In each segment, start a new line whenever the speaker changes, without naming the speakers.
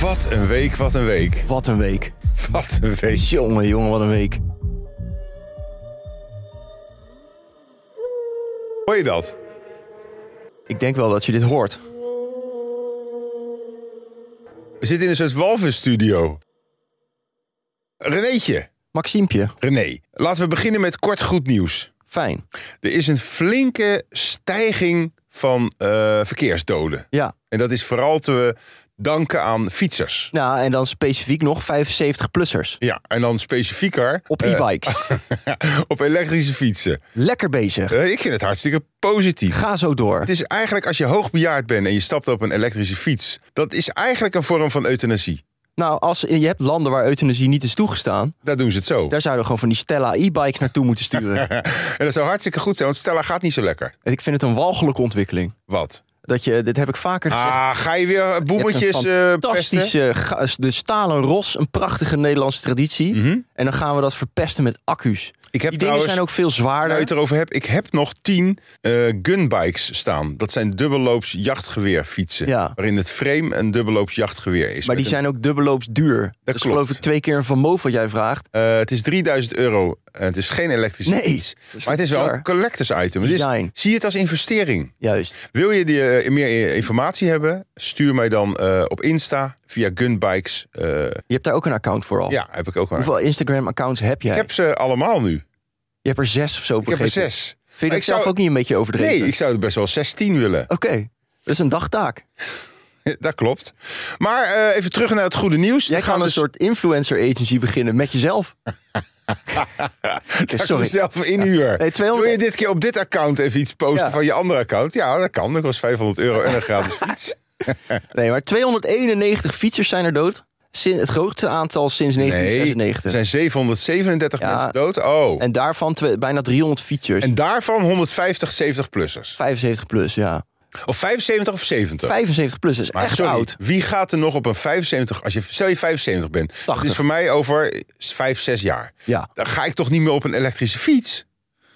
Wat een week, wat een week.
Wat een week.
Wat een week.
Jongen, jongen, wat een week.
Hoor je dat?
Ik denk wel dat je dit hoort.
We zitten in een soort walvisstudio. Renéetje,
Maxiempje,
René, laten we beginnen met kort goed nieuws.
fijn.
Er is een flinke stijging van eh, verkeersdoden.
Ja.
En dat is vooral te danken aan fietsers.
Nou, en dan specifiek nog 75-plussers.
Ja, en dan specifieker
Op
eh,
e-bikes.
op elektrische fietsen.
Lekker bezig.
Eh, ik vind het hartstikke positief.
Ga zo door.
Het is eigenlijk als je hoogbejaard bent en je stapt op een elektrische fiets, dat is eigenlijk een vorm van euthanasie.
Nou, als, je hebt landen waar euthanasie niet is toegestaan.
Daar doen ze het zo.
Daar zouden we gewoon van die Stella e-bikes naartoe moeten sturen.
En dat zou hartstikke goed zijn, want Stella gaat niet zo lekker.
En ik vind het een walgelijke ontwikkeling.
Wat?
Dat je, dit heb ik vaker gezegd.
Ah, ga je weer
Je hebt een
boemetjes eh pesten?
fantastische, ga- de stalen ros, een prachtige Nederlandse traditie. En dan gaan we dat verpesten met accu's.
Mhm. Ik heb
Die dingen
trouwens-
zijn ook veel
Waar je
zwaarder.
het erover hebt, ik heb nog tien eh, gunbikes staan. Dat zijn dubbelloops jachtgeweerfietsen.
Ja.
Waarin het frame een dubbelloops jachtgeweer is.
Maar
Met
die zijn ook dubbelloops duur. Dat
klopt.
is geloof ik twee keer een Van Moof wat jij vraagt.
een- eh, het is 3000 euro. en het is geen elektrische
Nee,
fiets.
dat is
Maar het is wel
bizar.
een collectors item. Het is-
Design.
zie het als investering.
Juist.
Wil je die, eh, meer informatie hebben? Stuur mij dan eh, op Insta via gunbikes. eh,
Je hebt daar ook een account voor al.
ja, heb ik ook wel.
Hoeveel Instagram-accounts heb jij?
Ik heb ze allemaal nu.
Je hebt er zes of zo,
Ik heb er zes.
Vind je dat
Ik
zelf
zou-
ook niet een beetje overdreven?
Nee, ik zou er best wel 16 willen.
Oké, dat is een dagtaak.
Dat klopt. Maar eh, even terug naar het goede nieuws.
Jij
We
kan een
dus-
soort influencer agency beginnen met jezelf.
Ga ik
sorry.
mezelf inhuur.
Nee, 200
Wil je dit keer op dit account even iets posten
Ja.
van je andere account? Ja, dat kan. Dat kost 500 euro en een gratis fiets.
Nee, maar 291 fietsers zijn er dood. Sin- het grootste aantal sinds
er
1996.
zijn 737
Ja.
mensen dood. Oh, en,
En dus- daarvan twe- bijna 300 fietsers.
daarvan 150 70-plussers.
75 plus, ja.
Of 75 of 70.
75 plus is
maar
echt
sorry,
oud.
wie gaat er nog op een 75... Als je, stel je 75 bent. Dat
80.
is voor mij over 5, 6 jaar.
Ja.
Dan ga ik toch niet meer op een elektrische fiets?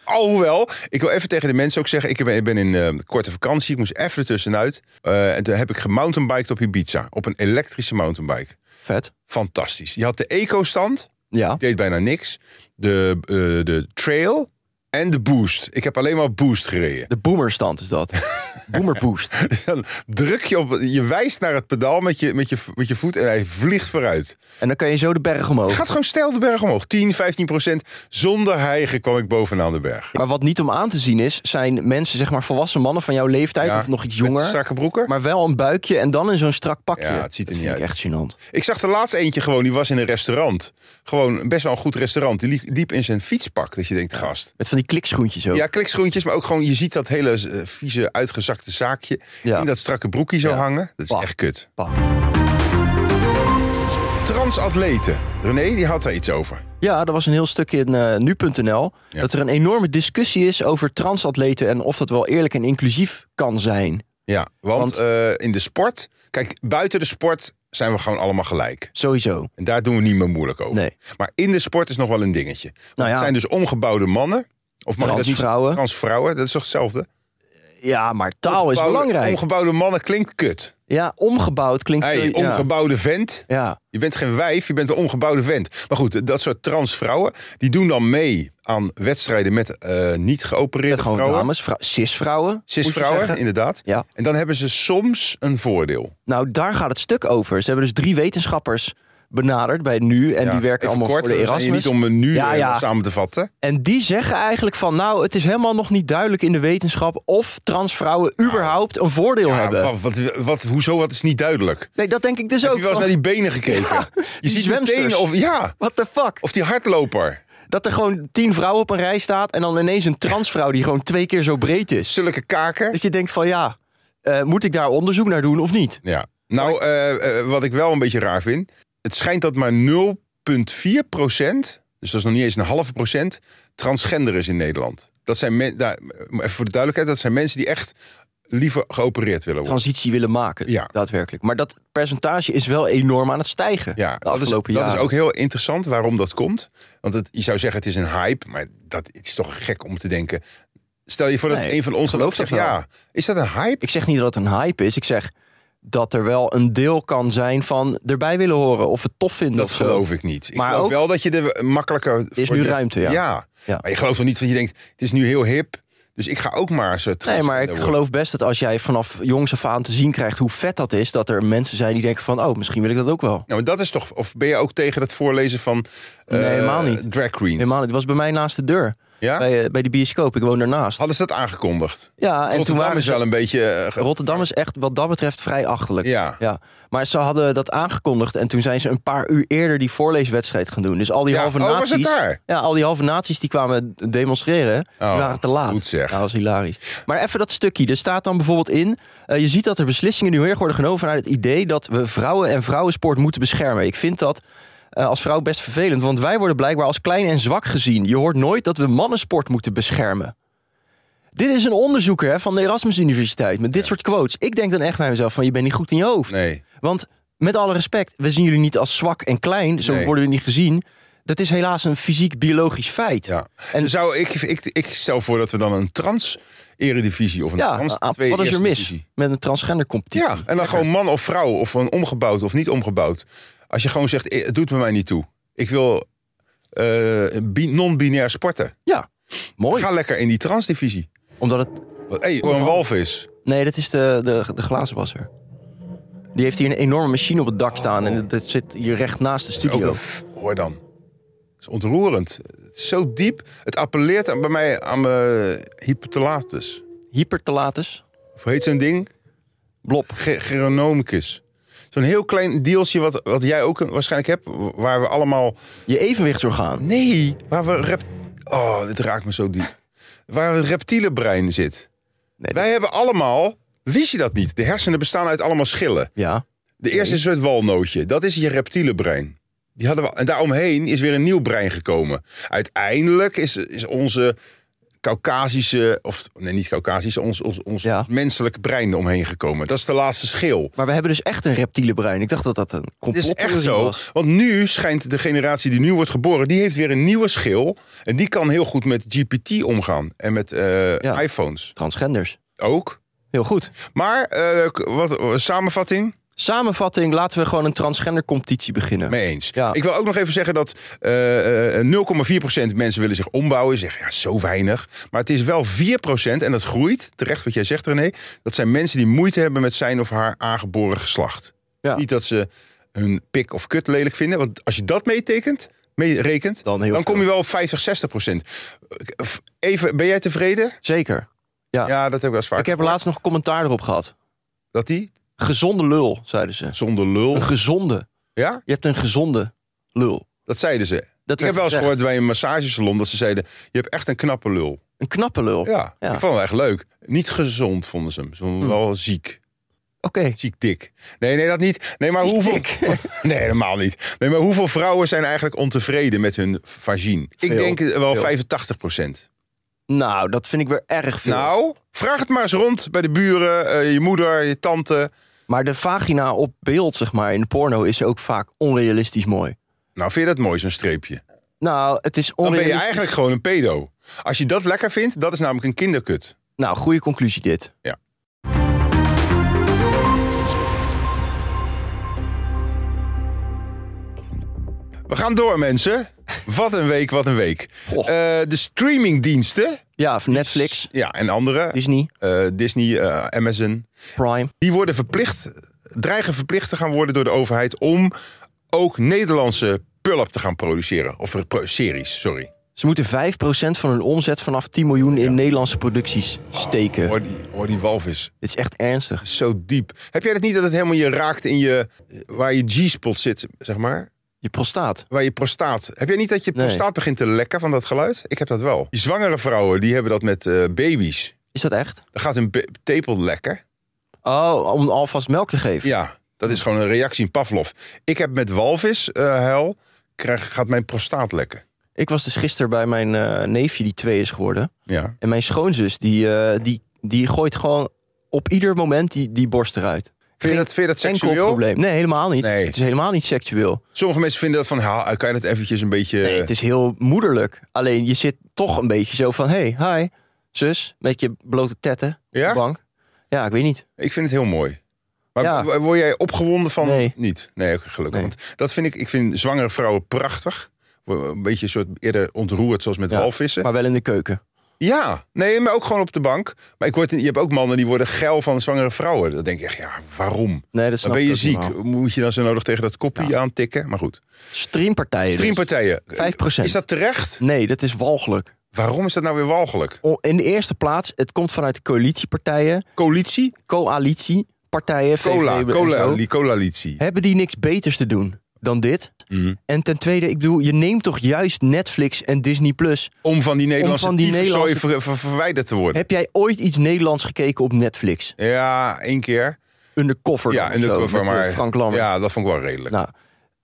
Alhoewel, ik wil even tegen de mensen ook zeggen... ik ben, ik ben in eh, korte vakantie, ik moest even ertussenuit. Eh, en toen heb ik gemountainbiked op Ibiza. Op een elektrische mountainbike.
Vet.
Fantastisch. Je had de eco-stand,
Ja.
deed bijna niks. De, eh, de trail en de boost. Ik heb alleen maar boost gereden.
De boomerstand is dat. Boomerboost.
Dus dan druk je op, je wijst naar het pedaal met je, met je, met je voet en hij vliegt vooruit.
En dan kan je zo de berg omhoog.
Gaat gewoon stijl de berg omhoog. 10, 15 procent. Zonder hijgen kwam ik bovenaan de berg.
Maar wat niet om aan te zien is, zijn mensen, zeg maar volwassen mannen van jouw leeftijd
Ja,
of nog iets
met
jonger.
strakke broeken.
Maar wel een buikje en dan in zo'n strak pakje.
Ja, het ziet er
dat
niet
vind
uit.
Ik echt gênant.
Ik zag de laatste eentje gewoon, die was in een restaurant. Gewoon best wel een goed restaurant. Die liep- liep in zijn fietspak. Dat je denkt, gast.
Met van die klikschoentjes ook.
Ja, klikschoentjes, maar ook gewoon, je ziet dat hele eh, vieze, uitgezakte zaakje.
Ja.
In dat strakke broekje zo
Ja.
hangen. Dat is
Bah.
echt kut.
Bah.
Transatleten. René, die had daar iets over.
Ja, er was een heel stuk in eh, nu.nl.
Ja.
Dat er een enorme discussie is over transatleten en of dat wel eerlijk en inclusief kan zijn.
Ja, want,
Want-
eh, in de sport. Kijk, buiten de sport zijn we gewoon allemaal gelijk.
Sowieso.
En daar doen we niet meer moeilijk over.
Nee. Nou
Maar in de sport is nog wel een dingetje. Want
ja.
Het zijn dus omgebouwde mannen. Of mag ik dat niet-
Transvrouwen.
Transvrouwen, dat is toch hetzelfde?
Ja, maar taal is
Omgebouwde-
belangrijk.
Omgebouwde mannen klinkt kut.
ja, omgebouwd klinkt
Hey,
veel- ja.
omgebouwde vent.
ja.
Je bent geen wijf, je bent een omgebouwde vent. Maar goed, dat soort transvrouwen, die doen dan mee aan wedstrijden met eh, niet geopereerde
Met gewoon
vrouwen.
dames, vrou- cisvrouwen. moet je
Cisvrouwen,
zeggen.
inderdaad.
Ja.
En dan hebben ze soms een voordeel.
Nou, daar gaat het stuk over. Ze hebben dus drie wetenschappers benaderd bij nu. En
Ja,
die
even
werken allemaal
kort,
voor de
dat zijn
Erasmus.
Niet om een nu
Ja,
eh,
ja.
samen te vatten.
En die zeggen eigenlijk van... nou, het is helemaal nog niet duidelijk in de wetenschap... of transvrouwen überhaupt een voordeel
Nou. Ja,
hebben.
wat, wat, wat- hoezo, wat is niet duidelijk?
Nee, dat denk ik dus
Heb
ook.
je wel eens
van,
naar die benen gekeken?
Ja,
je
die
ziet
zwemsters.
meteen of, ja,
What the fuck?
of die hardloper.
Dat er gewoon tien vrouwen op een rij staat... en dan ineens een transvrouw die gewoon twee keer zo breed is.
Zulke kaken.
Dat je denkt van ja, eh, moet ik daar onderzoek naar doen of niet?
Ja. Nou, eh, eh, wat ik wel een beetje raar vind. het schijnt dat maar 0,4 procent, dus dat is nog niet eens een halve procent, transgender is in Nederland. Dat zijn men, daar, eh, even voor de duidelijkheid, dat zijn mensen die echt liever geopereerd willen worden.
transitie willen maken,
Ja.
daadwerkelijk. Maar dat percentage is wel enorm aan het stijgen
Ja,
de
dat is,
afgelopen
dat
jaren.
is ook heel interessant waarom dat komt. Want het, je zou zeggen het is een hype, maar dat het is toch gek om te denken. Stel je voor dat
Nee,
een van ons
ik geloof
gelooft, zegt
dat wel.
ja, is dat een hype?
Ik zeg niet dat het een hype is. Ik zeg dat er wel een deel kan zijn van erbij willen horen of het tof vinden.
Dat
of zo.
geloof ik niet. Ik
Maar
geloof
ook-
wel dat je er makkelijker... Er
is nu ruimte, ja.
ja.
Ja.
Maar je gelooft wel niet dat je denkt, het is nu heel hip, dus ik ga ook maar zo
Nee,
transgender
maar ik
worden.
geloof best dat als jij vanaf jongs af aan te zien krijgt hoe vet dat is, dat er mensen zijn die denken van, oh, misschien wil ik dat ook wel.
Nou, maar dat is toch... Of ben je ook tegen dat voorlezen van eh,
Nee, helemaal niet.
drag queens?
Helemaal, het was bij mij naast de deur,
Ja?
bij, eh, bij de bioscoop. Ik woon daarnaast.
Hadden ze dat aangekondigd?
Ja, en toen
Rotterdam
waren
is wel
ze...
een beetje... eh, ge-
Rotterdam is echt wat dat betreft vrij achterlijk.
Ja.
Ja, maar ze hadden dat aangekondigd en toen zijn ze een paar uur eerder die voorleeswedstrijd gaan doen. Dus al die
Ja,
halve
oh, was
naties,
het daar?
ja, al die halve naties die kwamen demonstreren, die
Oh,
waren te laat.
goed zeg.
Ja, dat was hilarisch. Maar even dat stukje. Er staat dan bijvoorbeeld in, eh, je ziet dat er beslissingen nu heel erg worden genomen vanuit het idee dat we vrouwen en vrouwensport moeten beschermen. Ik vind dat eh, als vrouw best vervelend, want wij worden blijkbaar als klein en zwak gezien. Je hoort nooit dat we mannensport moeten beschermen. Dit is een onderzoeker hè, van de Erasmus Universiteit met dit soort quotes. Ik denk dan echt bij mezelf van je bent niet goed in je hoofd.
Nee.
Want met alle respect, we zien jullie niet als zwak en klein. Zo
Nee.
worden jullie niet gezien. Dat is helaas een fysiek-biologisch feit.
Ja.
En-
En zou ik, ik, ik stel voor dat we dan een trans eredivisie of een
Ja,
trans
a-
twee
wat is er
eerste
mis
divisie.
met een transgender competitie?
Ja, en dan gewoon man of vrouw of een omgebouwd of niet omgebouwd. Als je gewoon zegt, eh, het doet me mij niet toe. Ik wil eh, bi- non-binair sporten.
Ja, mooi.
Ga lekker in die transdivisie.
Omdat het...
Hé, hey, oh, een walvis.
Nee, dat is de, de, de glazenwasser. Die heeft hier een enorme machine op het dak staan.
Oh.
En dat zit hier recht naast de
Ook
studio.
een f- hoor dan. Het is ontroerend. Het is zo diep. Het appelleert aan- bij mij aan mijn hypothalamus.
Hypertalatus.
Of hoe heet zo'n ding?
Blob.
Ge- Geronomicus. Zo'n heel klein deeltje wat, wat jij ook waarschijnlijk hebt. w- Waar we allemaal...
Je evenwichtsorgaan.
Nee, waar we... Rep oh, dit raakt me zo diep. Waar het reptiele brein zit.
Nee,
Wij hebben allemaal... Wist je dat niet? De hersenen bestaan uit allemaal schillen.
Ja.
De eerste is een soort walnootje. Dat is je reptiele brein. Die hadden we, en daaromheen is weer een nieuw brein gekomen. Uiteindelijk is, is onze Caucasische, of nee, niet Caucasische, ons, ons, ons
Ja.
menselijk brein omheen gekomen. Dat is de laatste schil.
Maar we hebben dus echt een reptiele brein. Ik dacht dat dat een
Het is
complottheorie
echt zo.
was.
Want nu schijnt de generatie die nu wordt geboren, die heeft weer een nieuwe schil. En die kan heel goed met GPT omgaan. En met eh,
Ja.
iPhones
Transgenders.
ook.
Heel goed.
Maar, eh, k- wat, eh, samenvatting?
Samenvatting, laten we gewoon een transgender competitie beginnen.
Mee eens.
Ja.
Ik wil ook nog even zeggen dat eh, eh, 0,4% mensen willen zich ombouwen. Zeggen, ja, zo weinig. Maar het is wel 4% en dat groeit. Terecht wat jij zegt, René. Dat zijn mensen die moeite hebben met zijn of haar aangeboren geslacht.
Ja.
Niet dat ze hun pik of kut lelijk vinden. Want als je dat meetekent, mee rekent,
Dan heel
kom
veel.
je wel op 50, 60 Even, ben jij tevreden?
Zeker. Ja.
Ja, dat heb ik wel eens vaak.
Ik heb er
gehoord.
laatst nog commentaar erop gehad.
Dat die?
Gezonde lul, zeiden ze.
Zonder lul.
Een gezonde.
Ja,
Je hebt een gezonde lul.
dat zeiden ze.
Dat
ik heb wel
werd
eens
gezegd.
gehoord bij een massagesalon dat ze zeiden... je hebt echt een knappe lul.
Een knappe lul.
Ja,
Ja. Hm.
ik vond hem echt leuk. Niet gezond vonden ze hem. Ze vonden hem wel ziek.
Oké.
Ziek dik. Nee, nee, dat niet. Nee, maar
Ziek
hoeveel...
dik.
Nee, helemaal niet. Nee, maar hoeveel vrouwen zijn eigenlijk ontevreden met hun vagine?
Veel.
Ik denk wel
Veel.
85 procent.
Nou, dat vind ik weer erg veel.
Nou, vraag het maar eens rond bij de buren, eh, je moeder, je tante.
Maar de vagina op beeld, zeg maar, in de porno is ook vaak onrealistisch mooi.
Nou, vind je dat mooi, zo'n streepje?
Nou, het is
Dan ben
onrealistisch.
je eigenlijk gewoon een pedo. Als je dat lekker vindt, dat is namelijk een kinderkut.
Nou, goede conclusie dit.
Ja. We gaan door, mensen. Wat een week, wat een week.
Goh.
Eh, de streamingdiensten.
Ja, of Netflix,
Ja, en andere.
Disney,
eh, Disney, eh, Amazon.
Prime.
Die worden verplicht, dreigen verplicht te gaan worden door de overheid om ook Nederlandse pull-up te gaan produceren. Of eh, pro- series, sorry.
Ze moeten 5% van hun omzet vanaf 10 miljoen in Nederlandse producties steken.
Hoor die, hoor die walvis.
Dit is echt ernstig.
Zo diep. Heb jij dat niet dat het helemaal je raakt in je, eh, waar je G-spot zit, zeg maar?
Je prostaat.
Waar je prostaat. Heb jij niet dat je
Nee.
prostaat begint te lekken van dat geluid? Ik heb dat wel. Die zwangere vrouwen, die hebben dat met eh, baby's.
Is dat echt?
Dan gaat hun be- tepel lekken.
Oh, om alvast melk te geven.
Ja. Dat is gewoon een reactie in Pavlov. Ik heb met walvis eh huil, krijg, gaat mijn prostaat lekken.
Ik was dus gisteren bij mijn eh, neefje die twee is geworden.
Ja.
En mijn schoonzus, die, eh, die, die gooit gewoon op ieder moment die, die borst eruit.
Vind je dat, vind je dat
Enkel
seksueel?
probleem. Nee, helemaal niet.
Nee.
Het is helemaal niet seksueel.
Sommige mensen vinden dat van, ha, eh, kan je dat eventjes een beetje...
Nee, het is heel moederlijk. Alleen je zit toch een beetje zo van: hey, hi, zus, met je blote tetten op
Ja?
de bank. Ja, ik weet niet.
Ik vind het heel mooi. Maar
Ja.
w- word jij opgewonden van?
Nee.
Niet. Nee, ook gelukkig.
Nee.
Want dat vind ik, ik vind zwangere vrouwen prachtig. Een beetje een soort eerder ontroerd, zoals met
Ja,
walvissen.
Maar wel in de keuken.
Ja, nee, maar ook gewoon op de bank. Maar ik word, je hebt ook mannen die worden geil van zwangere vrouwen. Dan denk je echt, ja, waarom?
Nee, dat
Dan
snap
ben
ik
je
ook
ziek.
helemaal.
Moet je dan zo nodig tegen dat koppie aantikken? Maar goed.
Streampartijen. dus.
Streampartijen.
5%.
Is dat terecht?
Nee, dat is walgelijk.
Waarom is dat nou weer walgelijk?
O- In de eerste plaats, het komt vanuit de coalitiepartijen,
Coalitie?
coalitiepartijen,
Cola.
VVD en
Cola.
zo.
Die coalitie. Mm-hmm.
Hebben die niks beters te doen dan dit? En ten tweede, ik bedoel, je neemt toch juist Netflix en Disney Plus.
Om van die Nederlandse
van die
tyfuszooi
Nederlandse-
ver- ver- verwijderd te worden.
Heb jij ooit iets Nederlands gekeken op Netflix?
Ja, één keer.
Undercover.
Ja,
dan
en
of
de
zo,
cover,
met, eh,
maar.
Frank Lammers.
Ja, dat vond ik wel redelijk.
Nou,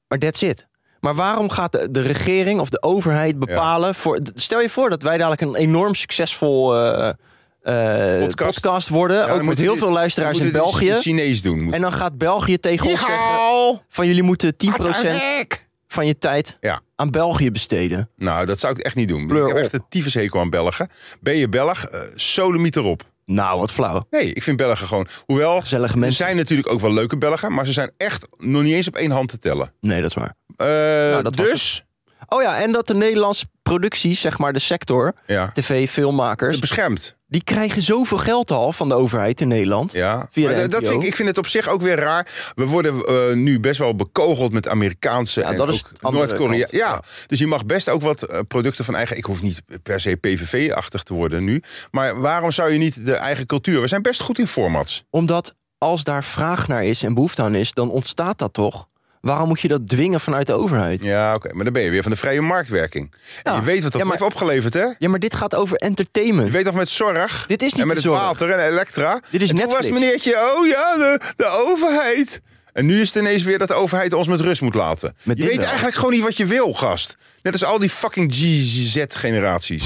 maar that's it. Maar waarom gaat de, de regering of de overheid bepalen voor. d- Stel je voor dat wij dadelijk een enorm succesvol eh, eh,
Podcast.
podcast. worden.
Ja, dan
ook met
moeten
heel
die-
veel luisteraars
dan
in
moeten die
België.
Chi- Chinees doen.
En dan gaat België tegen ons zeggen:
Yeehaw!
van jullie moeten 10%
Hek!
van je tijd
Ja.
aan België besteden.
Nou, dat zou ik echt niet doen.
Pleur
ik heb
op.
echt een tyfushekel aan Belgen. Ben je Belg, eh sodemiet erop.
Nou, wat flauw.
Nee, ik vind Belgen gewoon... Hoewel,
Gezellige
er
mensen.
zijn natuurlijk ook wel leuke Belgen... maar ze zijn echt nog niet eens op één hand te tellen.
Nee, dat is waar.
Eh,
Nou, dat was
dus,
Oh ja, en dat de Nederlandse producties, zeg maar de sector,
ja,
tv, filmmakers,
beschermd.
die krijgen zoveel geld al van de overheid in Nederland.
Ja.
Via de
Maar dat- dat
NPO.
vind ik, ik vind het op zich ook weer raar. We worden eh, nu best wel bekogeld met Amerikaanse
Ja,
en
dat is de
ook
andere
Noord-Korea.
kant.
Ja.
Ja.
dus je mag best ook wat eh, producten van eigen... Ik hoef niet per se PVV-achtig te worden nu. Maar waarom zou je niet de eigen cultuur... We zijn best goed in formats.
Omdat als daar vraag naar is en behoefte aan is, dan ontstaat dat toch? Waarom moet je dat dwingen vanuit de overheid? Ja,
Ja, oké. Maar dan ben je weer van de vrije marktwerking. En
Ja.
je weet wat dat
Ah. Ja, maar-
heeft opgeleverd, hè?
maar dit gaat over
Je
entertainment.
weet nog met zorg.
Dit is niet
En met
de
het
zorg.
water en Elektra.
Dit is
en toen
Netflix.
was het meneertje, oh ja, de, de overheid. En nu is het ineens weer dat de overheid ons met rust moet laten.
Met
je
dit
weet
wel.
eigenlijk gewoon niet wat je wil, gast. Net als al die fucking GZ-generaties.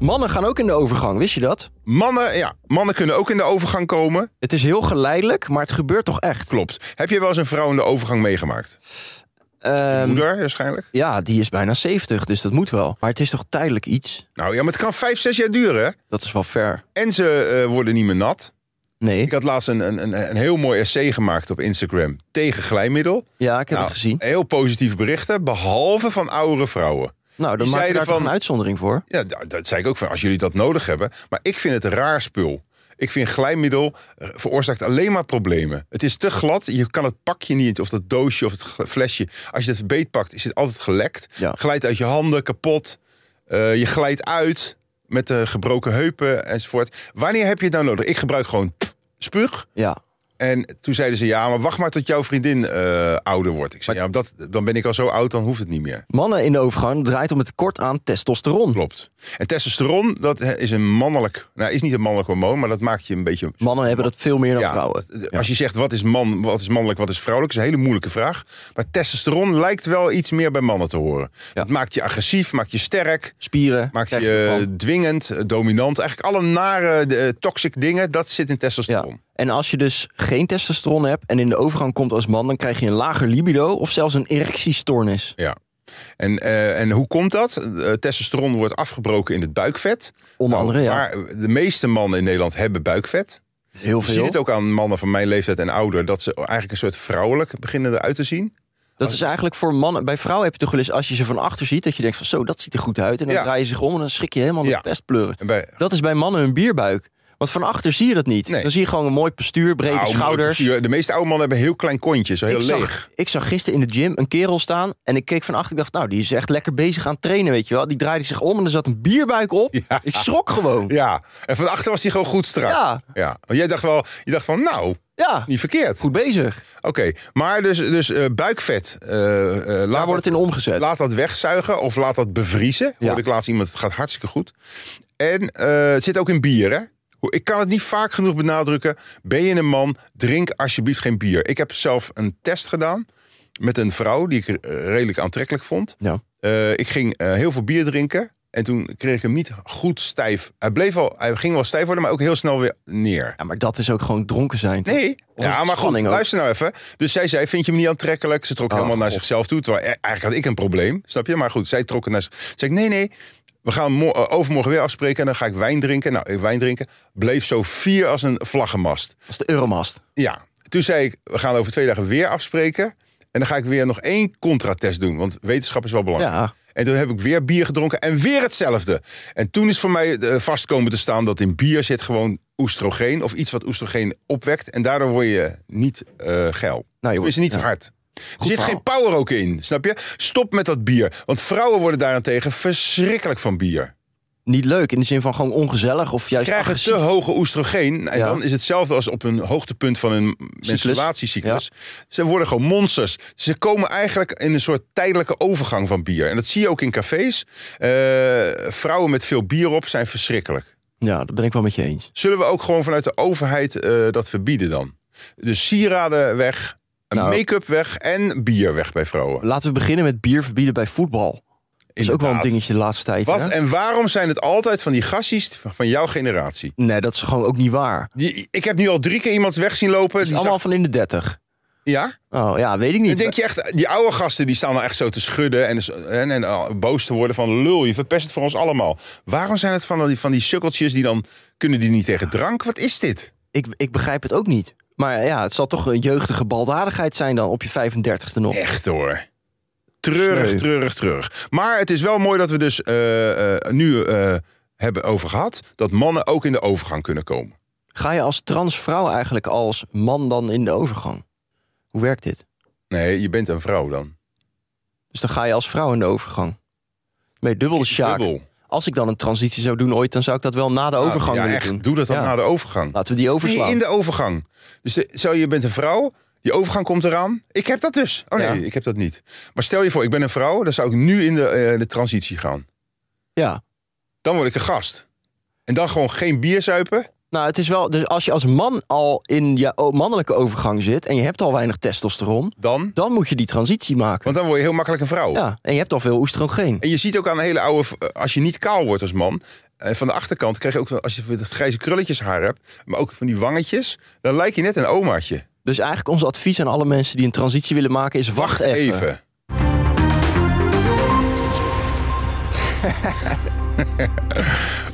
Mannen gaan ook in de overgang, wist je dat?
Mannen, ja, mannen kunnen ook in de overgang komen.
Het is heel geleidelijk, maar het gebeurt toch echt?
Klopt. Heb je wel eens een vrouw in de overgang meegemaakt?
Ehm,
Moeder, waarschijnlijk.
ja, die is bijna 70, dus dat moet wel. Maar het is toch tijdelijk iets?
Nou ja, maar het kan vijf, zes jaar duren. hè?
Dat is wel fair.
En ze eh, worden niet meer nat.
Nee.
Ik had laatst een, een, een, een heel mooi essay gemaakt op Instagram tegen glijmiddel.
Ja, ik heb
Nou,
het gezien.
Heel positieve berichten, behalve van oudere vrouwen.
Nou, dan
die
maak je
zeiden
daar toch
van-
een uitzondering voor.
Ja, da- dat zei ik ook van als jullie dat nodig hebben. Maar ik vind het een raar spul. Ik vind glijmiddel eh, veroorzaakt alleen maar problemen. Het is te glad. Je kan het pakje niet, of dat doosje of het gl- flesje. Als je dat beetpakt, is het altijd gelekt.
Ja.
Glijdt uit je handen, kapot. Eh, je glijdt uit met de gebroken heupen enzovoort. Wanneer heb je het nou nodig? Ik gebruik gewoon spuug.
Ja.
En toen zeiden ze, ja, maar wacht maar tot jouw vriendin eh, ouder wordt. Ik zei, ja, dat, dan ben ik al zo oud, dan hoeft het niet meer.
Mannen in de overgang draait om het tekort aan testosteron.
Klopt. En testosteron, dat is een mannelijk... Nou, is niet een mannelijk hormoon, maar dat maakt je een beetje...
Mannen hebben dat veel meer dan
Ja,
vrouwen. Ja.
Als je zegt, wat is, man, wat is mannelijk, wat is vrouwelijk, is een hele moeilijke vraag. Maar testosteron lijkt wel iets meer bij mannen te horen. Het maakt je agressief, maakt je sterk,
Spieren.
maakt je,
krijg ervan.
dwingend, eh, dominant. Eigenlijk alle nare, eh, toxic dingen, dat zit in testosteron.
Ja. En als je dus geen testosteron hebt en in de overgang komt als man, dan krijg je een lager libido of zelfs een erectiestoornis.
Ja. En, eh, en hoe komt dat? Eh, testosteron wordt afgebroken in het buikvet.
Onder andere, ja.
Nou, Maar de meeste mannen in Nederland hebben buikvet.
Heel
Je ziet
veel.
het ook aan mannen van mijn leeftijd en ouder... dat ze eigenlijk een soort vrouwelijk beginnen eruit te zien.
Dat is eigenlijk voor mannen. Bij vrouwen heb je toch wel eens, als je ze van achter ziet, dat je denkt van zo, dat ziet er goed uit. En dan
Ja.
draai je zich om en dan schrik je helemaal
Ja.
met pestpleuren.
En bij,
Dat is bij mannen hun bierbuik. Want van achter zie je dat niet.
Nee.
Dan zie je gewoon een mooi postuur, brede
Nou, mooi
schouders.
postuur. De meeste oude mannen hebben een heel klein kontje, zo heel
ik,
leeg.
zag, ik zag gisteren in de gym een kerel staan en ik keek van achter. Ik dacht, nou, die is echt lekker bezig aan het trainen, weet je wel. Die draaide zich om en er zat een bierbuik op.
Ja.
Ik schrok gewoon. Ja.
Ja, en van achter was hij gewoon goed strak.
Ja.
Want Jij dacht wel, je dacht van, nou, niet verkeerd.
goed bezig.
Oké, maar dus, dus eh, buikvet. eh, eh, laat,
Daar wordt het in omgezet.
laat dat wegzuigen of laat dat bevriezen.
Ja.
Hoorde ik laatst iemand, het gaat hartstikke goed. En eh, het zit ook in bier, hè? Hoe- Ik kan het niet vaak genoeg benadrukken. Ben je een man, drink alsjeblieft geen bier. Ik heb zelf een test gedaan met een vrouw die ik eh, redelijk aantrekkelijk vond.
Ja.
Eh, ik ging eh, heel veel bier drinken. En toen kreeg ik hem niet goed stijf. Hij, bleef wel, hij ging wel stijf worden, maar ook heel snel weer neer.
ja, maar dat is ook gewoon dronken zijn. toch?
Nee.
Of
ja,
het
maar goed,
spanning ook.
luister nou even. Dus zij zei, vind je hem niet aantrekkelijk? Ze trok
Oh,
helemaal naar
God.
zichzelf toe. Terwijl, eh, eigenlijk had ik een probleem, snap je? Maar goed, zij trok het naar zichzelf. Zei ik, nee, nee, we gaan mo- eh, overmorgen weer afspreken... en dan ga ik wijn drinken. Nou, ik wijn drinken. Bleef zo fier als een vlaggenmast.
Dat is de Euromast.
Ja, toen zei ik, we gaan over twee dagen weer afspreken... en dan ga ik weer nog één contratest doen. Want wetenschap is wel belangrijk.
Ja.
En toen heb ik weer bier gedronken en weer hetzelfde. En toen is voor mij eh, vast komen te staan dat in bier zit gewoon oestrogeen of iets wat oestrogeen opwekt. En daardoor word je niet eh geil.
wordt-
Nou, is niet
ja.
hard. Er zit
verhaal.
geen power ook in, snap je? Stop met dat bier. Want vrouwen worden daarentegen verschrikkelijk van bier.
Niet leuk in de zin van gewoon ongezellig of juist
Krijgen te
agressief.
hoge oestrogeen. En
Ja.
dan is hetzelfde als op een hoogtepunt van hun menstruatiecyclus. Ze worden gewoon monsters. Ze komen eigenlijk in een soort tijdelijke overgang van bier. En dat zie je ook in cafés. Eh, vrouwen met veel bier op zijn verschrikkelijk.
Ja, dat ben ik wel met je eens.
Zullen we ook gewoon vanuit de overheid eh, dat verbieden dan? Dus sieraden weg, een
Nou.
make-up weg en bier weg bij vrouwen.
Laten we beginnen met bier verbieden bij voetbal. Dat is ook wel een
Inderdaad.
dingetje de laatste tijd.
Wat
hè?
en waarom zijn het altijd van die gassies van jouw generatie?
Nee, dat is gewoon ook niet waar. Het
Die, ik heb nu al drie keer iemand weg zien lopen.
is
die
allemaal van in de 30.
zag- ja?
Oh ja, weet ik
Dan
niet.
denk je echt, die oude gasten die staan dan echt zo te schudden en, en, en al boos te worden van lul, je verpest het voor ons allemaal. Waarom zijn het van die, van die sukkeltjes die dan, kunnen die niet tegen drank? Wat is dit?
Ik, ik begrijp het ook niet. Maar ja, het zal toch een jeugdige baldadigheid zijn dan op je 35ste nog.
Echt hoor. Treurig,
Sneu.
treurig, treurig. Maar het is wel mooi dat we dus eh, eh, nu eh, hebben over gehad dat mannen ook in de overgang kunnen komen.
Ga je als transvrouw eigenlijk als man dan in de overgang? Hoe werkt dit?
Nee, je bent een vrouw dan.
Dus dan ga je als vrouw in de overgang. Nee, dubbel sjaak.
Dubbel. Nou,
Als ik dan een transitie zou doen ooit, dan zou ik dat wel na de overgang
ja,
willen
echt.
doen.
Doe dat dan
Ja.
na de overgang.
Laten we die
Nee,
overslaan.
in de overgang. Dus de, stel je bent een vrouw, die overgang komt eraan. Ik heb dat dus. Oh nee,
Ja.
ik heb dat niet. Maar stel je voor, ik ben een vrouw, dan zou ik nu in de, eh, de transitie gaan.
Ja.
Dan word ik een gast. En dan gewoon geen bier zuipen.
Nou, het is wel. Dus als je als man al in je o- mannelijke overgang zit en je hebt al weinig testosteron,
Dan.
dan moet je die transitie maken.
Want dan word je heel makkelijk een vrouw.
Ja, en je hebt al veel oestrogeen.
En je ziet ook aan een hele oude. v- eh, Als je niet kaal wordt als man. eh, Van de achterkant krijg je ook, wel- als je dat grijze krulletjes haar hebt, maar ook van die wangetjes, dan lijk je net een omaatje.
Dus eigenlijk ons advies aan alle mensen die een transitie willen maken is wacht, even.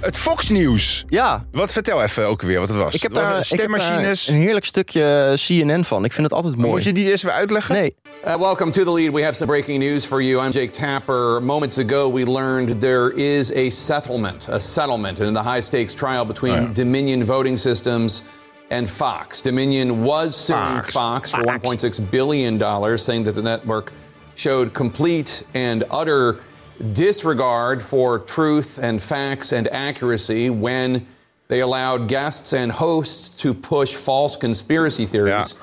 het Fox Nieuws.
Ja,
Wat vertel even ook weer wat het was.
ik heb
Het was
daar,
een
ik heb daar
stemmachines.
een heerlijk stukje eh, CNN van. Ik vind het altijd mooi.
Moet je die eerst weer uitleggen?
Nee,
Uh, welcome to the lead. We have some breaking news for you. I'm Jake Tapper. Moments ago, we learned there is a settlement, a settlement in the high stakes trial between
Oh, yeah.
Dominion Voting Systems and Fox. Dominion was suing
Fox.
Fox, for
Fox.
$1.6 billion, saying that the network showed complete and utter disregard for truth and facts and accuracy when they allowed guests and hosts to push false conspiracy
Ja.
theories.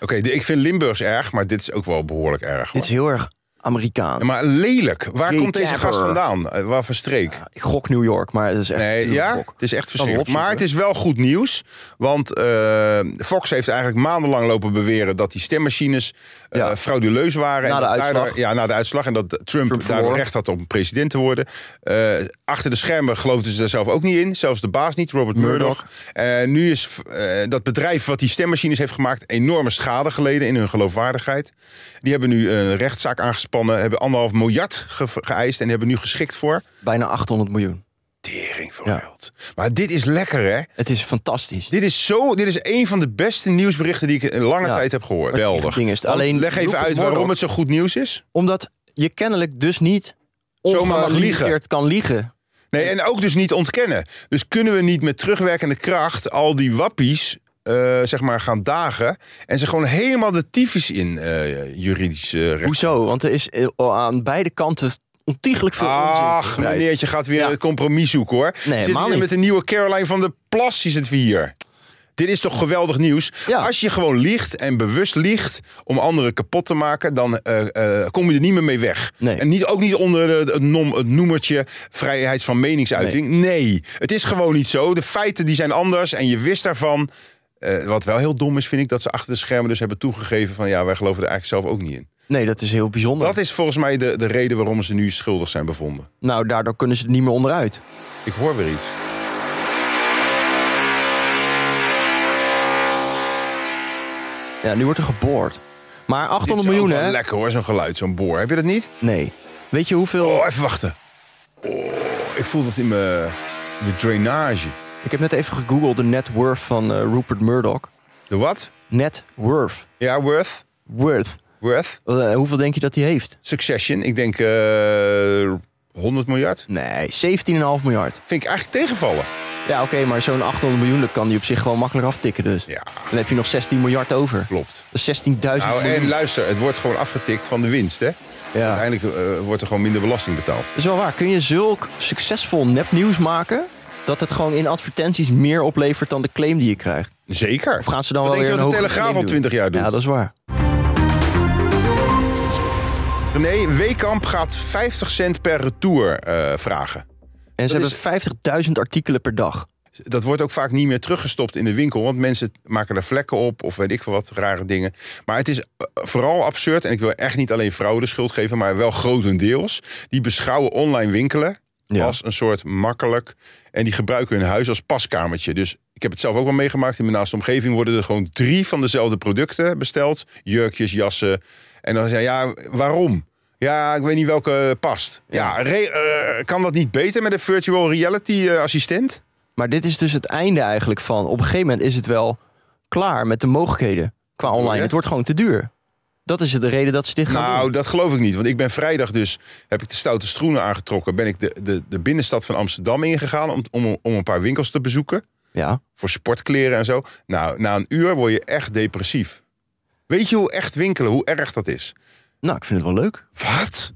Oké,
ja,
de- ik vind Limburgs erg, maar dit is ook wel behoorlijk erg. hoor.
dit is heel erg Amerikaans.
Maar lelijk. Waar
Jay
komt deze
Tapper.
gast vandaan? Eh, Waar voor streek?
Ik gok New York, maar het is echt
Nee,
puur
ja,
gok.
het is echt
Kan wel
verschrikkelijk.
opzoeken.
Maar het is wel goed nieuws. Want eh, Fox heeft eigenlijk maandenlang lopen beweren dat die stemmachines eh,
Ja.
frauduleus waren.
Na
en
de
dat
uitslag.
daardoor- ja, na de uitslag. En dat Trump,
Trump
daardoor
verloor.
recht had om president te worden. Eh, achter de schermen geloofden ze daar zelf ook niet in. Zelfs de baas niet, Robert Murdoch. Eh, nu is eh, dat bedrijf wat die stemmachines heeft gemaakt enorme schade geleden in hun geloofwaardigheid. Die hebben nu een rechtszaak aangespannen. Hebben anderhalf miljard ge- geëist en die hebben nu geschikt voor
bijna 800 miljoen.
tering voor
Ja.
geld. Maar dit is lekker, hè?
Het is fantastisch.
Dit is zo. Dit is een van de beste nieuwsberichten die ik in lange
Ja.
tijd heb gehoord.
Maar het
Geweldig.
ding is,
Want
alleen
leg even
Rupert
uit waarom
Murdoch-
het zo goed nieuws is.
Omdat je kennelijk dus niet
Zomaar mag
ongelimiteerd
liegen.
kan liegen.
Nee, en ook dus niet ontkennen. Dus kunnen we niet met terugwerkende kracht al die wappies eh, zeg maar gaan dagen en ze gewoon helemaal de tyfus in eh juridisch eh, recht.
Hoezo? Want er is eh, aan beide kanten ontiegelijk veel onzin
Ach,
verspreid.
meneertje gaat weer
Ja.
het compromis zoeken hoor. Zit
helemaal
hier
niet.
met de nieuwe Caroline van de Plas zit we hier. Dit is toch geweldig nieuws?
Ja.
Als je gewoon liegt en bewust liegt om anderen kapot te maken, dan eh, eh, kom je er niet meer mee weg.
Nee.
En niet, ook niet onder de- het, nom, het noemertje vrijheid van meningsuiting. Nee. het is gewoon niet zo. De feiten die zijn anders en je wist daarvan. Eh, wat wel heel dom is, vind ik, dat ze achter de schermen dus hebben toegegeven van ja, wij geloven er eigenlijk zelf ook niet in.
Nee, dat is heel bijzonder.
Dat is volgens mij de, de reden waarom ze nu schuldig zijn bevonden.
Nou, daardoor kunnen ze er niet meer onderuit.
Ik hoor weer iets.
Ja, nu wordt er geboord. Maar 800
Dit is ook
miljoen,
wel
hè?
Lekker hoor, zo'n geluid, zo'n boor. Heb je dat niet?
Nee. Weet je hoeveel...
Oh, even wachten. Oh, ik voel dat in mijn in mijn drainage.
Ik heb net even gegoogeld de net worth van eh, Rupert Murdoch.
De wat?
Net worth.
Ja, worth.
Worth.
Worth.
Eh, hoeveel denk je dat hij heeft?
Succession. Ik denk eh 100 miljard.
Nee, 17,5 miljard.
Vind ik eigenlijk tegenvallen.
Ja, oké, maar zo'n 800 miljoen dat kan die op zich gewoon makkelijk aftikken dus.
Ja.
Dan heb je nog 16 miljard over.
Klopt.
Dat is 16.000
Nou, en
miljoen.
luister, het wordt gewoon afgetikt van de winst, hè?
Ja.
Uiteindelijk eh, wordt er gewoon minder belasting betaald.
Dat is wel waar. Kun je zulk succesvol nepnieuws maken... dat het gewoon in advertenties meer oplevert dan de claim die je krijgt?
Zeker.
Of gaan ze dan
Wat
wel
denk
weer
je
een
dat de Telegraaf
hogere
al
claim doen?
20 jaar doet?
Ja, dat is waar.
Nee, Wekamp gaat 50 cent per retour eh, vragen.
En ze
Dat
hebben 50.000 artikelen per dag.
dat wordt ook vaak niet meer teruggestopt in de winkel. Want mensen maken er vlekken op of weet ik veel wat rare dingen. Maar het is eh, vooral absurd. En ik wil echt niet alleen vrouwen de schuld geven, maar wel grotendeels. Die beschouwen online winkelen
Ja.
als een soort makkelijk. En die gebruiken hun huis als paskamertje. Dus ik heb het zelf ook wel meegemaakt. In mijn naaste omgeving worden er gewoon drie van dezelfde producten besteld: jurkjes, jassen. En dan zei je, ja, waarom? Ja, ik weet niet welke past. Ja, re- eh, kan dat niet beter met een virtual reality eh, assistent?
Maar dit is dus het einde eigenlijk van... op een gegeven moment is het wel klaar met de mogelijkheden qua online.
je?
Het wordt gewoon te duur. Dat is de reden dat ze dit gaan
Nou,
doen.
dat geloof ik niet. Want ik ben vrijdag dus, heb ik de stoute schoenen aangetrokken. Ben ik de, de, de binnenstad van Amsterdam ingegaan om, om, om een paar winkels te bezoeken.
Ja.
Voor sportkleren en zo. Nou, na een uur word je echt depressief. Weet je hoe echt winkelen, hoe erg dat is?
Nou, ik vind het wel leuk.
Wat?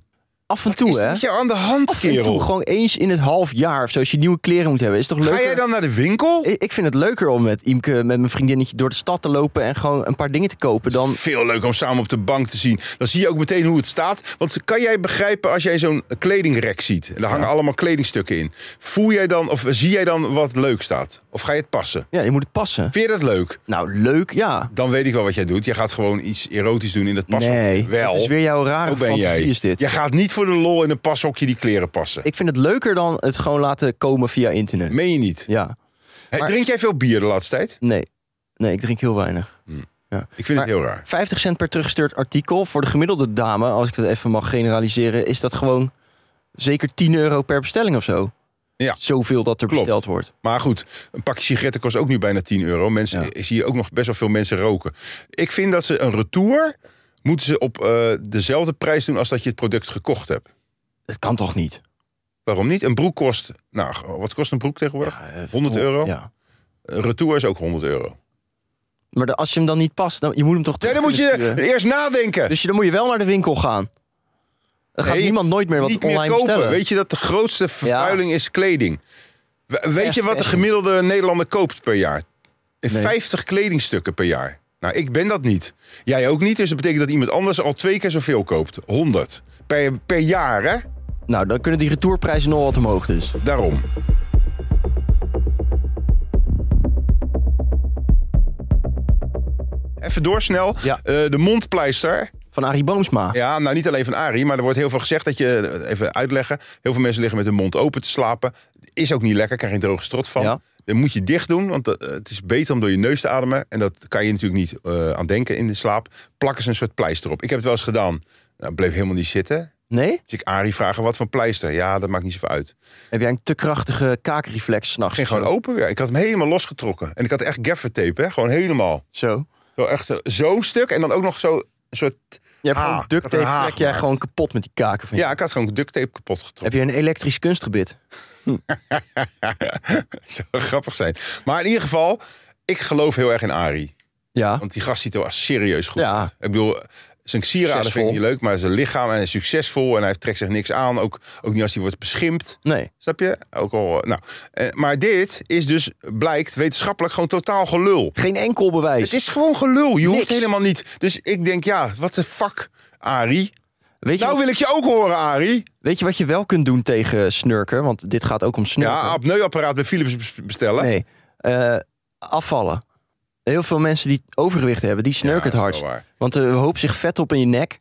Af en toe,
is
hè?
met jou aan de hand,
Af en toe,
kerel?
gewoon eens in het half jaar of zo. Als je nieuwe kleren moet hebben, is het toch leuk?
Ga jij dan naar de winkel?
Ik ik vind het leuker om met Imke, met mijn vriendinnetje door de stad te lopen en gewoon een paar dingen te kopen dan.
Veel leuk om samen op de bank te zien. Dan zie je ook meteen hoe het staat. Want kan jij begrijpen als jij zo'n kledingrek ziet? En daar hangen allemaal kledingstukken in. Voel jij dan, of zie jij dan wat leuk staat? Of ga je het passen?
Ja, je moet het passen.
Vind je dat leuk?
Nou, leuk, ja.
Dan weet ik wel wat jij doet. Je gaat gewoon iets erotisch doen in dat pashokje.
Nee,
wel.
dat is weer jouw rare
Zo ben
fantasie
jij.
is dit.
Je gaat niet voor de lol in een pashokje die kleren passen.
Ik vind het leuker dan het gewoon laten komen via internet.
Meen je niet?
Ja,
Hey,
maar-
Drink jij veel bier de laatste tijd?
nee. Nee, ik drink heel weinig. Ja.
Ik vind
Maar-
het heel raar.
50 cent per teruggestuurd artikel. Voor de gemiddelde dame, als ik dat even mag generaliseren, is dat gewoon zeker 10 euro per bestelling of zo.
Ja.
Zoveel dat er
Klopt.
besteld wordt.
Maar goed, een pakje sigaretten kost ook nu bijna 10 euro. Mensen,
Ja.
Ik zie ook nog best wel veel mensen roken. Ik vind dat ze een retour moeten ze op eh, dezelfde prijs doen als dat je het product gekocht hebt.
Dat kan toch niet?
Waarom niet? Een broek kost, nou, wat kost een broek tegenwoordig?
Ja, eh,
100 euro?
Ja.
Een retour is ook 100 euro.
Maar de- als je hem dan niet past, dan, je moet hem toch
Nee, dan
terug
moet
kunnen
je
sturen.
eerst nadenken.
Dus je, dan moet je wel naar de winkel gaan. Dan gaat
Nee,
niemand nooit meer wat
niet
online
meer kopen.
bestellen.
Weet je dat de grootste vervuiling is kleding? We- Weet je wat de
fashion.
gemiddelde Nederlander koopt per jaar? Eh,
Nee.
50 kledingstukken per jaar. Nou, ik ben dat niet. Jij ook niet, dus dat betekent dat iemand anders al twee keer zoveel koopt. 100. Per, per jaar, hè?
Nou, dan kunnen die retourprijzen nog wat omhoog dus.
Daarom. Even door snel.
Ja.
Eh, de mondpleister.
Van Arie Boomsma.
Ja, nou niet alleen van Arie, maar er wordt heel veel gezegd dat je, eh, even uitleggen, heel veel mensen liggen met hun mond open te slapen. Is ook niet lekker, krijg je een droge strot van.
Ja.
Dan moet je dicht doen, want dat, eh, het is beter om door je neus te ademen. En dat kan je natuurlijk niet eh, aan denken in de slaap. Plakken ze een soort pleister op. Ik heb het wel eens gedaan. Nou, bleef helemaal niet zitten.
Nee?
Dus ik Arie vragen, wat voor pleister? Ja, dat maakt niet zoveel uit.
Heb jij een te krachtige kaakreflex s'nachts?
Ging gewoon open weer. Ik had hem helemaal losgetrokken. En ik had echt gaffer tape, hè? gewoon helemaal.
Zo.
Zo echt eh, zo stuk en dan ook nog zo een soort...
Je hebt
haag.
gewoon duct
Ik had
tape,
een haag
trek jij
gemaakt.
gewoon kapot met die kaken van je.
Ja, ik had gewoon duct tape kapot getrokken.
Heb je een elektrisch kunstgebit?
zou grappig zijn. Maar in ieder geval, ik geloof heel erg in Ari.
Ja.
Want die gast ziet er wel serieus goed
Ja.
uit. Ik bedoel, zijn sieraden
Succesvol.
vind ik niet leuk, maar zijn lichaam en hij is succesvol en hij trekt zich niks aan. Ook, ook niet als hij wordt beschimpt.
Nee.
Snap je? Ook al, eh, nou. eh, maar dit is dus, blijkt wetenschappelijk gewoon totaal gelul.
Geen enkel bewijs.
Het is gewoon gelul. Je hoeft
Niks.
helemaal niet. Dus ik denk, ja, wat de fuck, Ari.
Weet je,
Nou
wat,
wil ik je ook horen, Ari.
weet je wat je wel kunt doen tegen snurken? Want dit gaat ook om snurken.
Ja, apneuapparaat bij Philips bes- bestellen.
nee. Eh, afvallen. Heel veel mensen die overgewicht hebben, die snurken
Ja,
het
dat is
hardst.
wel waar.
Want er hoopt zich vet op in je nek.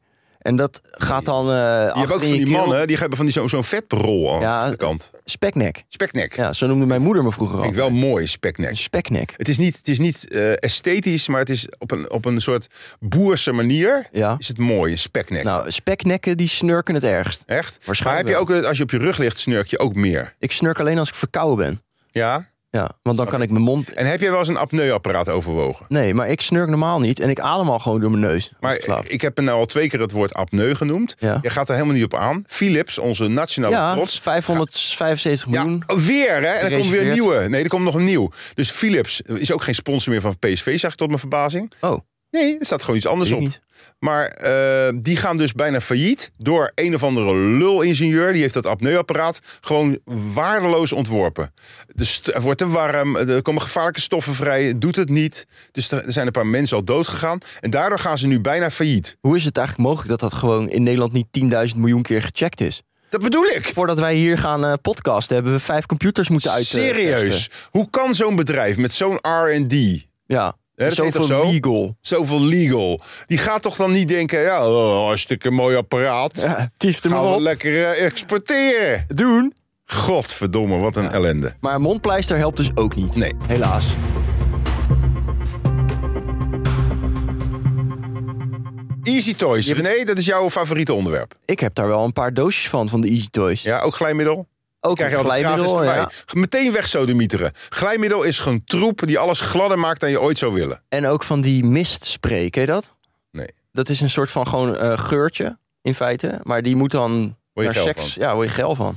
En dat gaat dan eh
Je hebt ook van die mannen, die hebben van die zo- zo'n vetbrol aan
Ja,
de kant.
Speknek.
Speknek.
Ja, zo noemde mijn moeder me vroeger al.
Vind ik wel mooi, speknek.
Speknek.
Het is niet, het is niet eh, esthetisch, maar het is op een, op een soort boerse manier.
Ja.
Is het mooi, een speknek.
Nou, speknekken die snurken het ergst.
Echt? Maar
waarschijnlijk
heb je ook, eh, als je op je rug ligt, snurk je ook meer.
Ik snurk alleen als ik verkouden ben.
Ja?
Ja, want dan kan ik mijn mond...
En heb jij wel eens een apneuapparaat overwogen?
Nee, maar ik snurk normaal niet. En ik adem al gewoon door mijn neus. als
Maar
ik slaap.
ik heb nou al twee keer het woord apneu genoemd.
Ja.
Je gaat er helemaal niet op aan. Philips, onze nationale
ja,
trots.
575 miljoen.
Ja, oh, weer hè? En er komt weer een
Gereserveerd.
nieuwe. Nee, er komt nog een nieuw. Dus Philips is ook geen sponsor meer van PSV, zag ik tot mijn verbazing.
Oh,
Nee, er staat gewoon iets anders
Weet
op.
ik niet.
Maar eh, die gaan dus bijna failliet door een of andere lul-ingenieur. Die heeft dat apneuapparaat gewoon waardeloos ontworpen. De st- het wordt te warm, er komen gevaarlijke stoffen vrij, het doet het niet. Dus er er zijn een paar mensen al dood gegaan. En daardoor gaan ze nu bijna failliet.
hoe is het eigenlijk mogelijk dat dat gewoon in Nederland niet 10.000 miljoen keer gecheckt is?
Dat bedoel ik.
Voordat wij hier gaan eh, podcasten, hebben we vijf computers moeten uit. eh,
Serieus.
testen.
Hoe kan zo'n bedrijf met zo'n R&D,
Ja, Dus
dat heet
zoveel
toch zo?
legal.
zoveel legal, die gaat toch dan niet denken... ja, oh, hartstikke mooi apparaat.
Ja, tiefde maar
Gaan we
op.
lekker eh, exporteren.
Doen.
Godverdomme, wat een ellende.
Maar mondpleister helpt dus ook niet.
Nee.
Helaas.
Easy Toys. René, dat is jouw favoriete onderwerp.
Ik heb daar wel een paar doosjes van, van de Easy Toys.
Ja, ook glijmiddel?
Ook
Krijg je
een
altijd gratis
glijmiddel,
erbij.
ja.
Meteen weg sodemieteren. Glijmiddel is gewoon troep die alles gladder maakt dan je ooit zou willen.
En ook van die mistspray, ken je dat?
Nee.
Dat is een soort van gewoon eh, geurtje, in feite. Maar die moet dan
Word je
naar
geil
seks. Ja, word je geil van.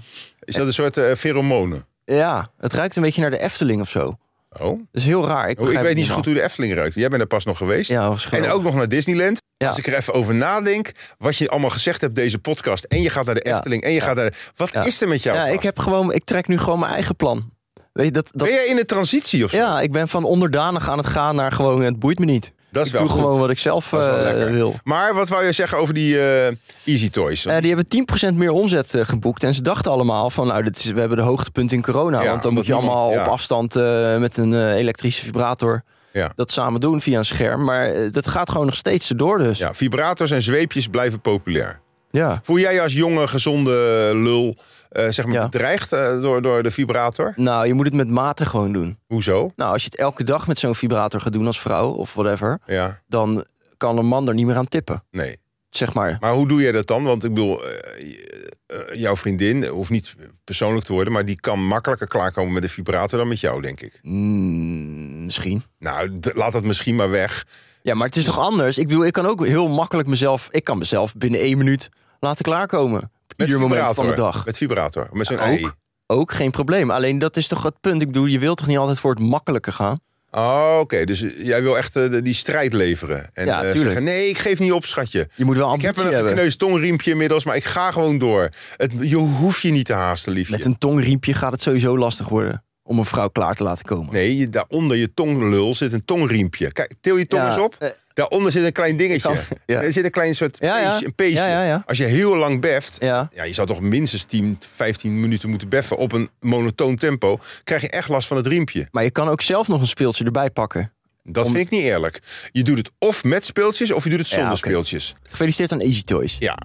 Is dat een soort eh pheromonen?
Ja, het ruikt een beetje naar de Efteling of zo.
Oh,
Dat is heel raar. Ik,
oh ik
begrijp
weet
het
niet zo goed hoe de Efteling ruikt. Jij bent er pas nog geweest.
helemaal. Ja, was
en
geweldig.
ook nog naar Disneyland.
Ja.
Als ik er even over nadenk, wat je allemaal gezegd hebt deze podcast. En je gaat naar de
Ja.
Efteling en je gaat naar... de- Wat
Ja.
is er met jou?
Ja, ik,
gast?
heb gewoon, ik trek nu gewoon mijn eigen plan. Weet je, dat, dat,
Ben jij in een transitie of zo?
ja, ik ben van onderdanig aan het gaan naar gewoon het boeit me niet.
Dat is
ik
wel
doe
goed.
gewoon wat ik zelf
Dat is wel
eh,
lekker.
wil.
Maar wat wou je zeggen over die eh, Easy Toys?
Eh, die hebben 10% meer omzet eh, geboekt. En ze dachten allemaal van, nou, dit is, we hebben de hoogtepunt in corona.
Ja,
want dan moet je
omdat niemand-
allemaal
ja.
op afstand eh, met een eh, elektrische vibrator
Ja.
dat samen doen via een scherm. Maar eh, dat gaat gewoon nog steeds door dus.
Ja, vibrators en zweepjes blijven populair.
Ja.
Voel jij je als jonge, gezonde lul eh, zeg maar
Ja.
bedreigd eh, door, door de vibrator?
Nou, je moet het met mate gewoon doen.
Hoezo?
Nou, als je het elke dag met zo'n vibrator gaat doen als vrouw of whatever,
Ja,
dan kan een man er niet meer aan tippen.
nee.
Zeg maar.
Maar hoe doe jij dat dan? Want ik bedoel, eh, je- eh, jouw vriendin eh, hoeft niet persoonlijk te worden... maar die kan makkelijker klaarkomen met een vibrator dan met jou, denk ik.
Mm, misschien.
Nou, d- laat dat misschien maar weg.
Ja, maar het is toch anders? Ik bedoel, ik kan ook heel makkelijk mezelf... Ik kan mezelf binnen één minuut laten klaarkomen. Op
Met
ieder moment
vibrator.
van de dag.
Met vibrator. Met zo'n
Ja,
ei.
ook. Ook geen probleem. Alleen dat is toch het punt. Ik bedoel, je wilt toch niet altijd voor het makkelijke gaan?
Oh, oké. Dus eh, jij wil echt eh, de- die strijd leveren. En
Ja,
eh,
tuurlijk.
zeggen, nee, ik geef niet op, schatje.
Je moet wel
Ik heb
ambitie
een
hebben.
gekneusd tongriempje inmiddels, maar ik ga gewoon door. Het, je hoeft je niet te haasten, liefje.
Met een tongriempje gaat het sowieso lastig worden om een vrouw klaar te laten komen.
Nee, je, daaronder je tonglul zit een tongriempje. Kijk, til je tong
Ja,
eens op.
eh,
daaronder zit een klein dingetje.
kan- ja.
Er zit een klein soort
Ja, ja.
peesje, een peesje.
Ja, ja, ja.
Als je heel lang beft,
Ja.
ja, je zou toch minstens 10, 15 minuten moeten beffen op een monotoon tempo. Krijg je echt last van het riempje.
Maar je kan ook zelf nog een speeltje erbij pakken.
Dat
Om-
vind ik niet eerlijk. Je doet het of met speeltjes of je doet het zonder
oké.
speeltjes.
Gefeliciteerd aan Easy Toys.
Ja.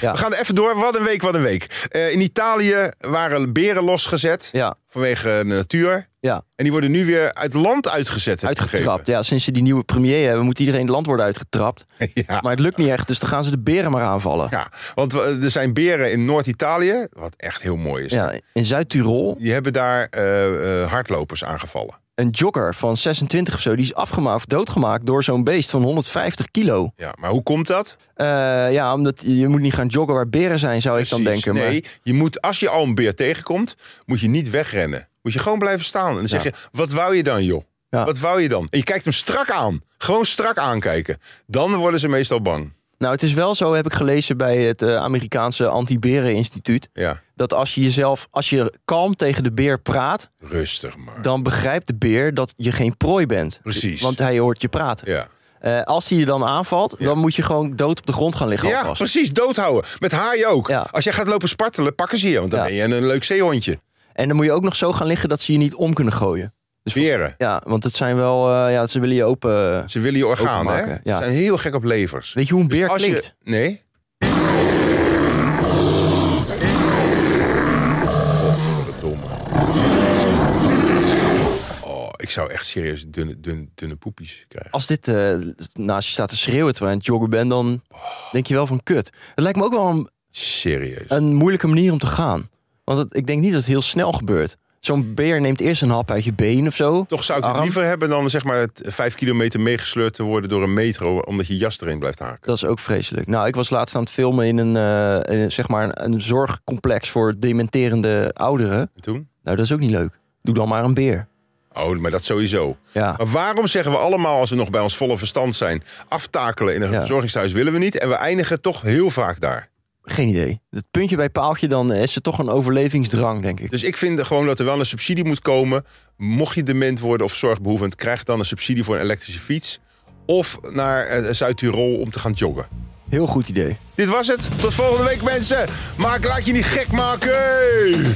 Ja.
We gaan er even door. Wat een week, wat een week. Eh, in Italië waren beren losgezet
Ja,
vanwege eh, de natuur.
ja.
En die worden nu weer uit land uitgezet. heb ik
uitgetrapt. Ja, sinds ze die nieuwe premier hebben, moet iedereen het land worden uitgetrapt.
begrepen. Ja.
Maar het lukt niet echt, dus dan gaan ze de beren maar aanvallen.
ja, want eh, er zijn beren in Noord-Italië, wat echt heel mooi is.
Ja, Dus in Zuid-Tirol.
Die hebben daar eh, eh, hardlopers aangevallen.
een jogger van 26 of zo, die is afgemaakt, of doodgemaakt door zo'n beest van 150 kilo.
Ja, maar hoe komt dat?
Eh, ja, omdat je moet niet gaan joggen waar beren zijn, zou ik dan
Precies.
denken.
Nee,
Maar,
je moet, als je al een beer tegenkomt, moet je niet wegrennen. Moet je gewoon blijven staan. En dan zeg je, wat wou je dan, joh?
Ja.
Wat wou je dan? En je kijkt hem strak aan. Gewoon strak aankijken. Dan worden ze meestal bang.
nou, het is wel zo, heb ik gelezen bij het eh, Amerikaanse Anti-Beren-instituut,
Ja,
dat als je jezelf, als je kalm tegen de beer praat,
rustig maar.
dan begrijpt de beer dat je geen prooi bent.
Precies.
Want hij hoort je praten.
Ja,
Eh, als hij je dan aanvalt, dan moet je gewoon dood op de grond gaan liggen.
ja
alvast.
precies. Doodhouden. Met haaien ook.
Ja.
Als jij gaat lopen spartelen, pakken ze je. Want dan
Ja.
ben je een leuk zeehondje.
En dan moet je ook nog zo gaan liggen dat ze je niet om kunnen gooien. Dus vol-
Beren.
ja, want het zijn wel, eh, ja, ze willen je open.
Ze willen je orgaan, hè?
Openmaken, ja.
Ze zijn heel gek op levers. Dus
Weet je hoe een beer
Als
klinkt?
je... Nee? Godverdomme. Oh, ik zou echt serieus dunne, dunne, dunne poepjes krijgen.
Als dit eh, naast je staat te schreeuwen terwijl je aan het joggen bent, dan denk je wel van kut. Het lijkt me ook wel een,
Serieus.
een moeilijke manier om te gaan. Want het- ik denk niet dat het heel snel gebeurt. Zo'n beer neemt eerst een hap uit je been of zo.
Toch zou ik het
Arm.
liever hebben dan zeg maar het vijf kilometer meegesleurd te worden door een metro. Omdat je jas erin blijft haken.
Dat is ook vreselijk. Nou, ik was laatst aan het filmen in een, eh, eh, zeg maar een, een zorgcomplex voor dementerende ouderen.
En toen?
Nou, dat is ook niet leuk. Doe dan maar een beer.
Oh, maar dat sowieso.
Ja.
Maar waarom zeggen we allemaal, als we nog bij ons volle verstand zijn, aftakelen in een
Ja.
verzorgingshuis willen we niet. En we eindigen toch heel vaak daar.
Geen idee. Het puntje bij paaltje, dan is er toch een overlevingsdrang, denk ik.
Dus ik vind gewoon dat er wel een subsidie moet komen. Mocht je dement worden of zorgbehoevend, krijg dan een subsidie voor een elektrische fiets. Of naar eh, Zuid-Tirol om te gaan joggen.
Heel goed idee.
Dit was het. Tot volgende week, mensen. Maar ik laat je niet gek maken.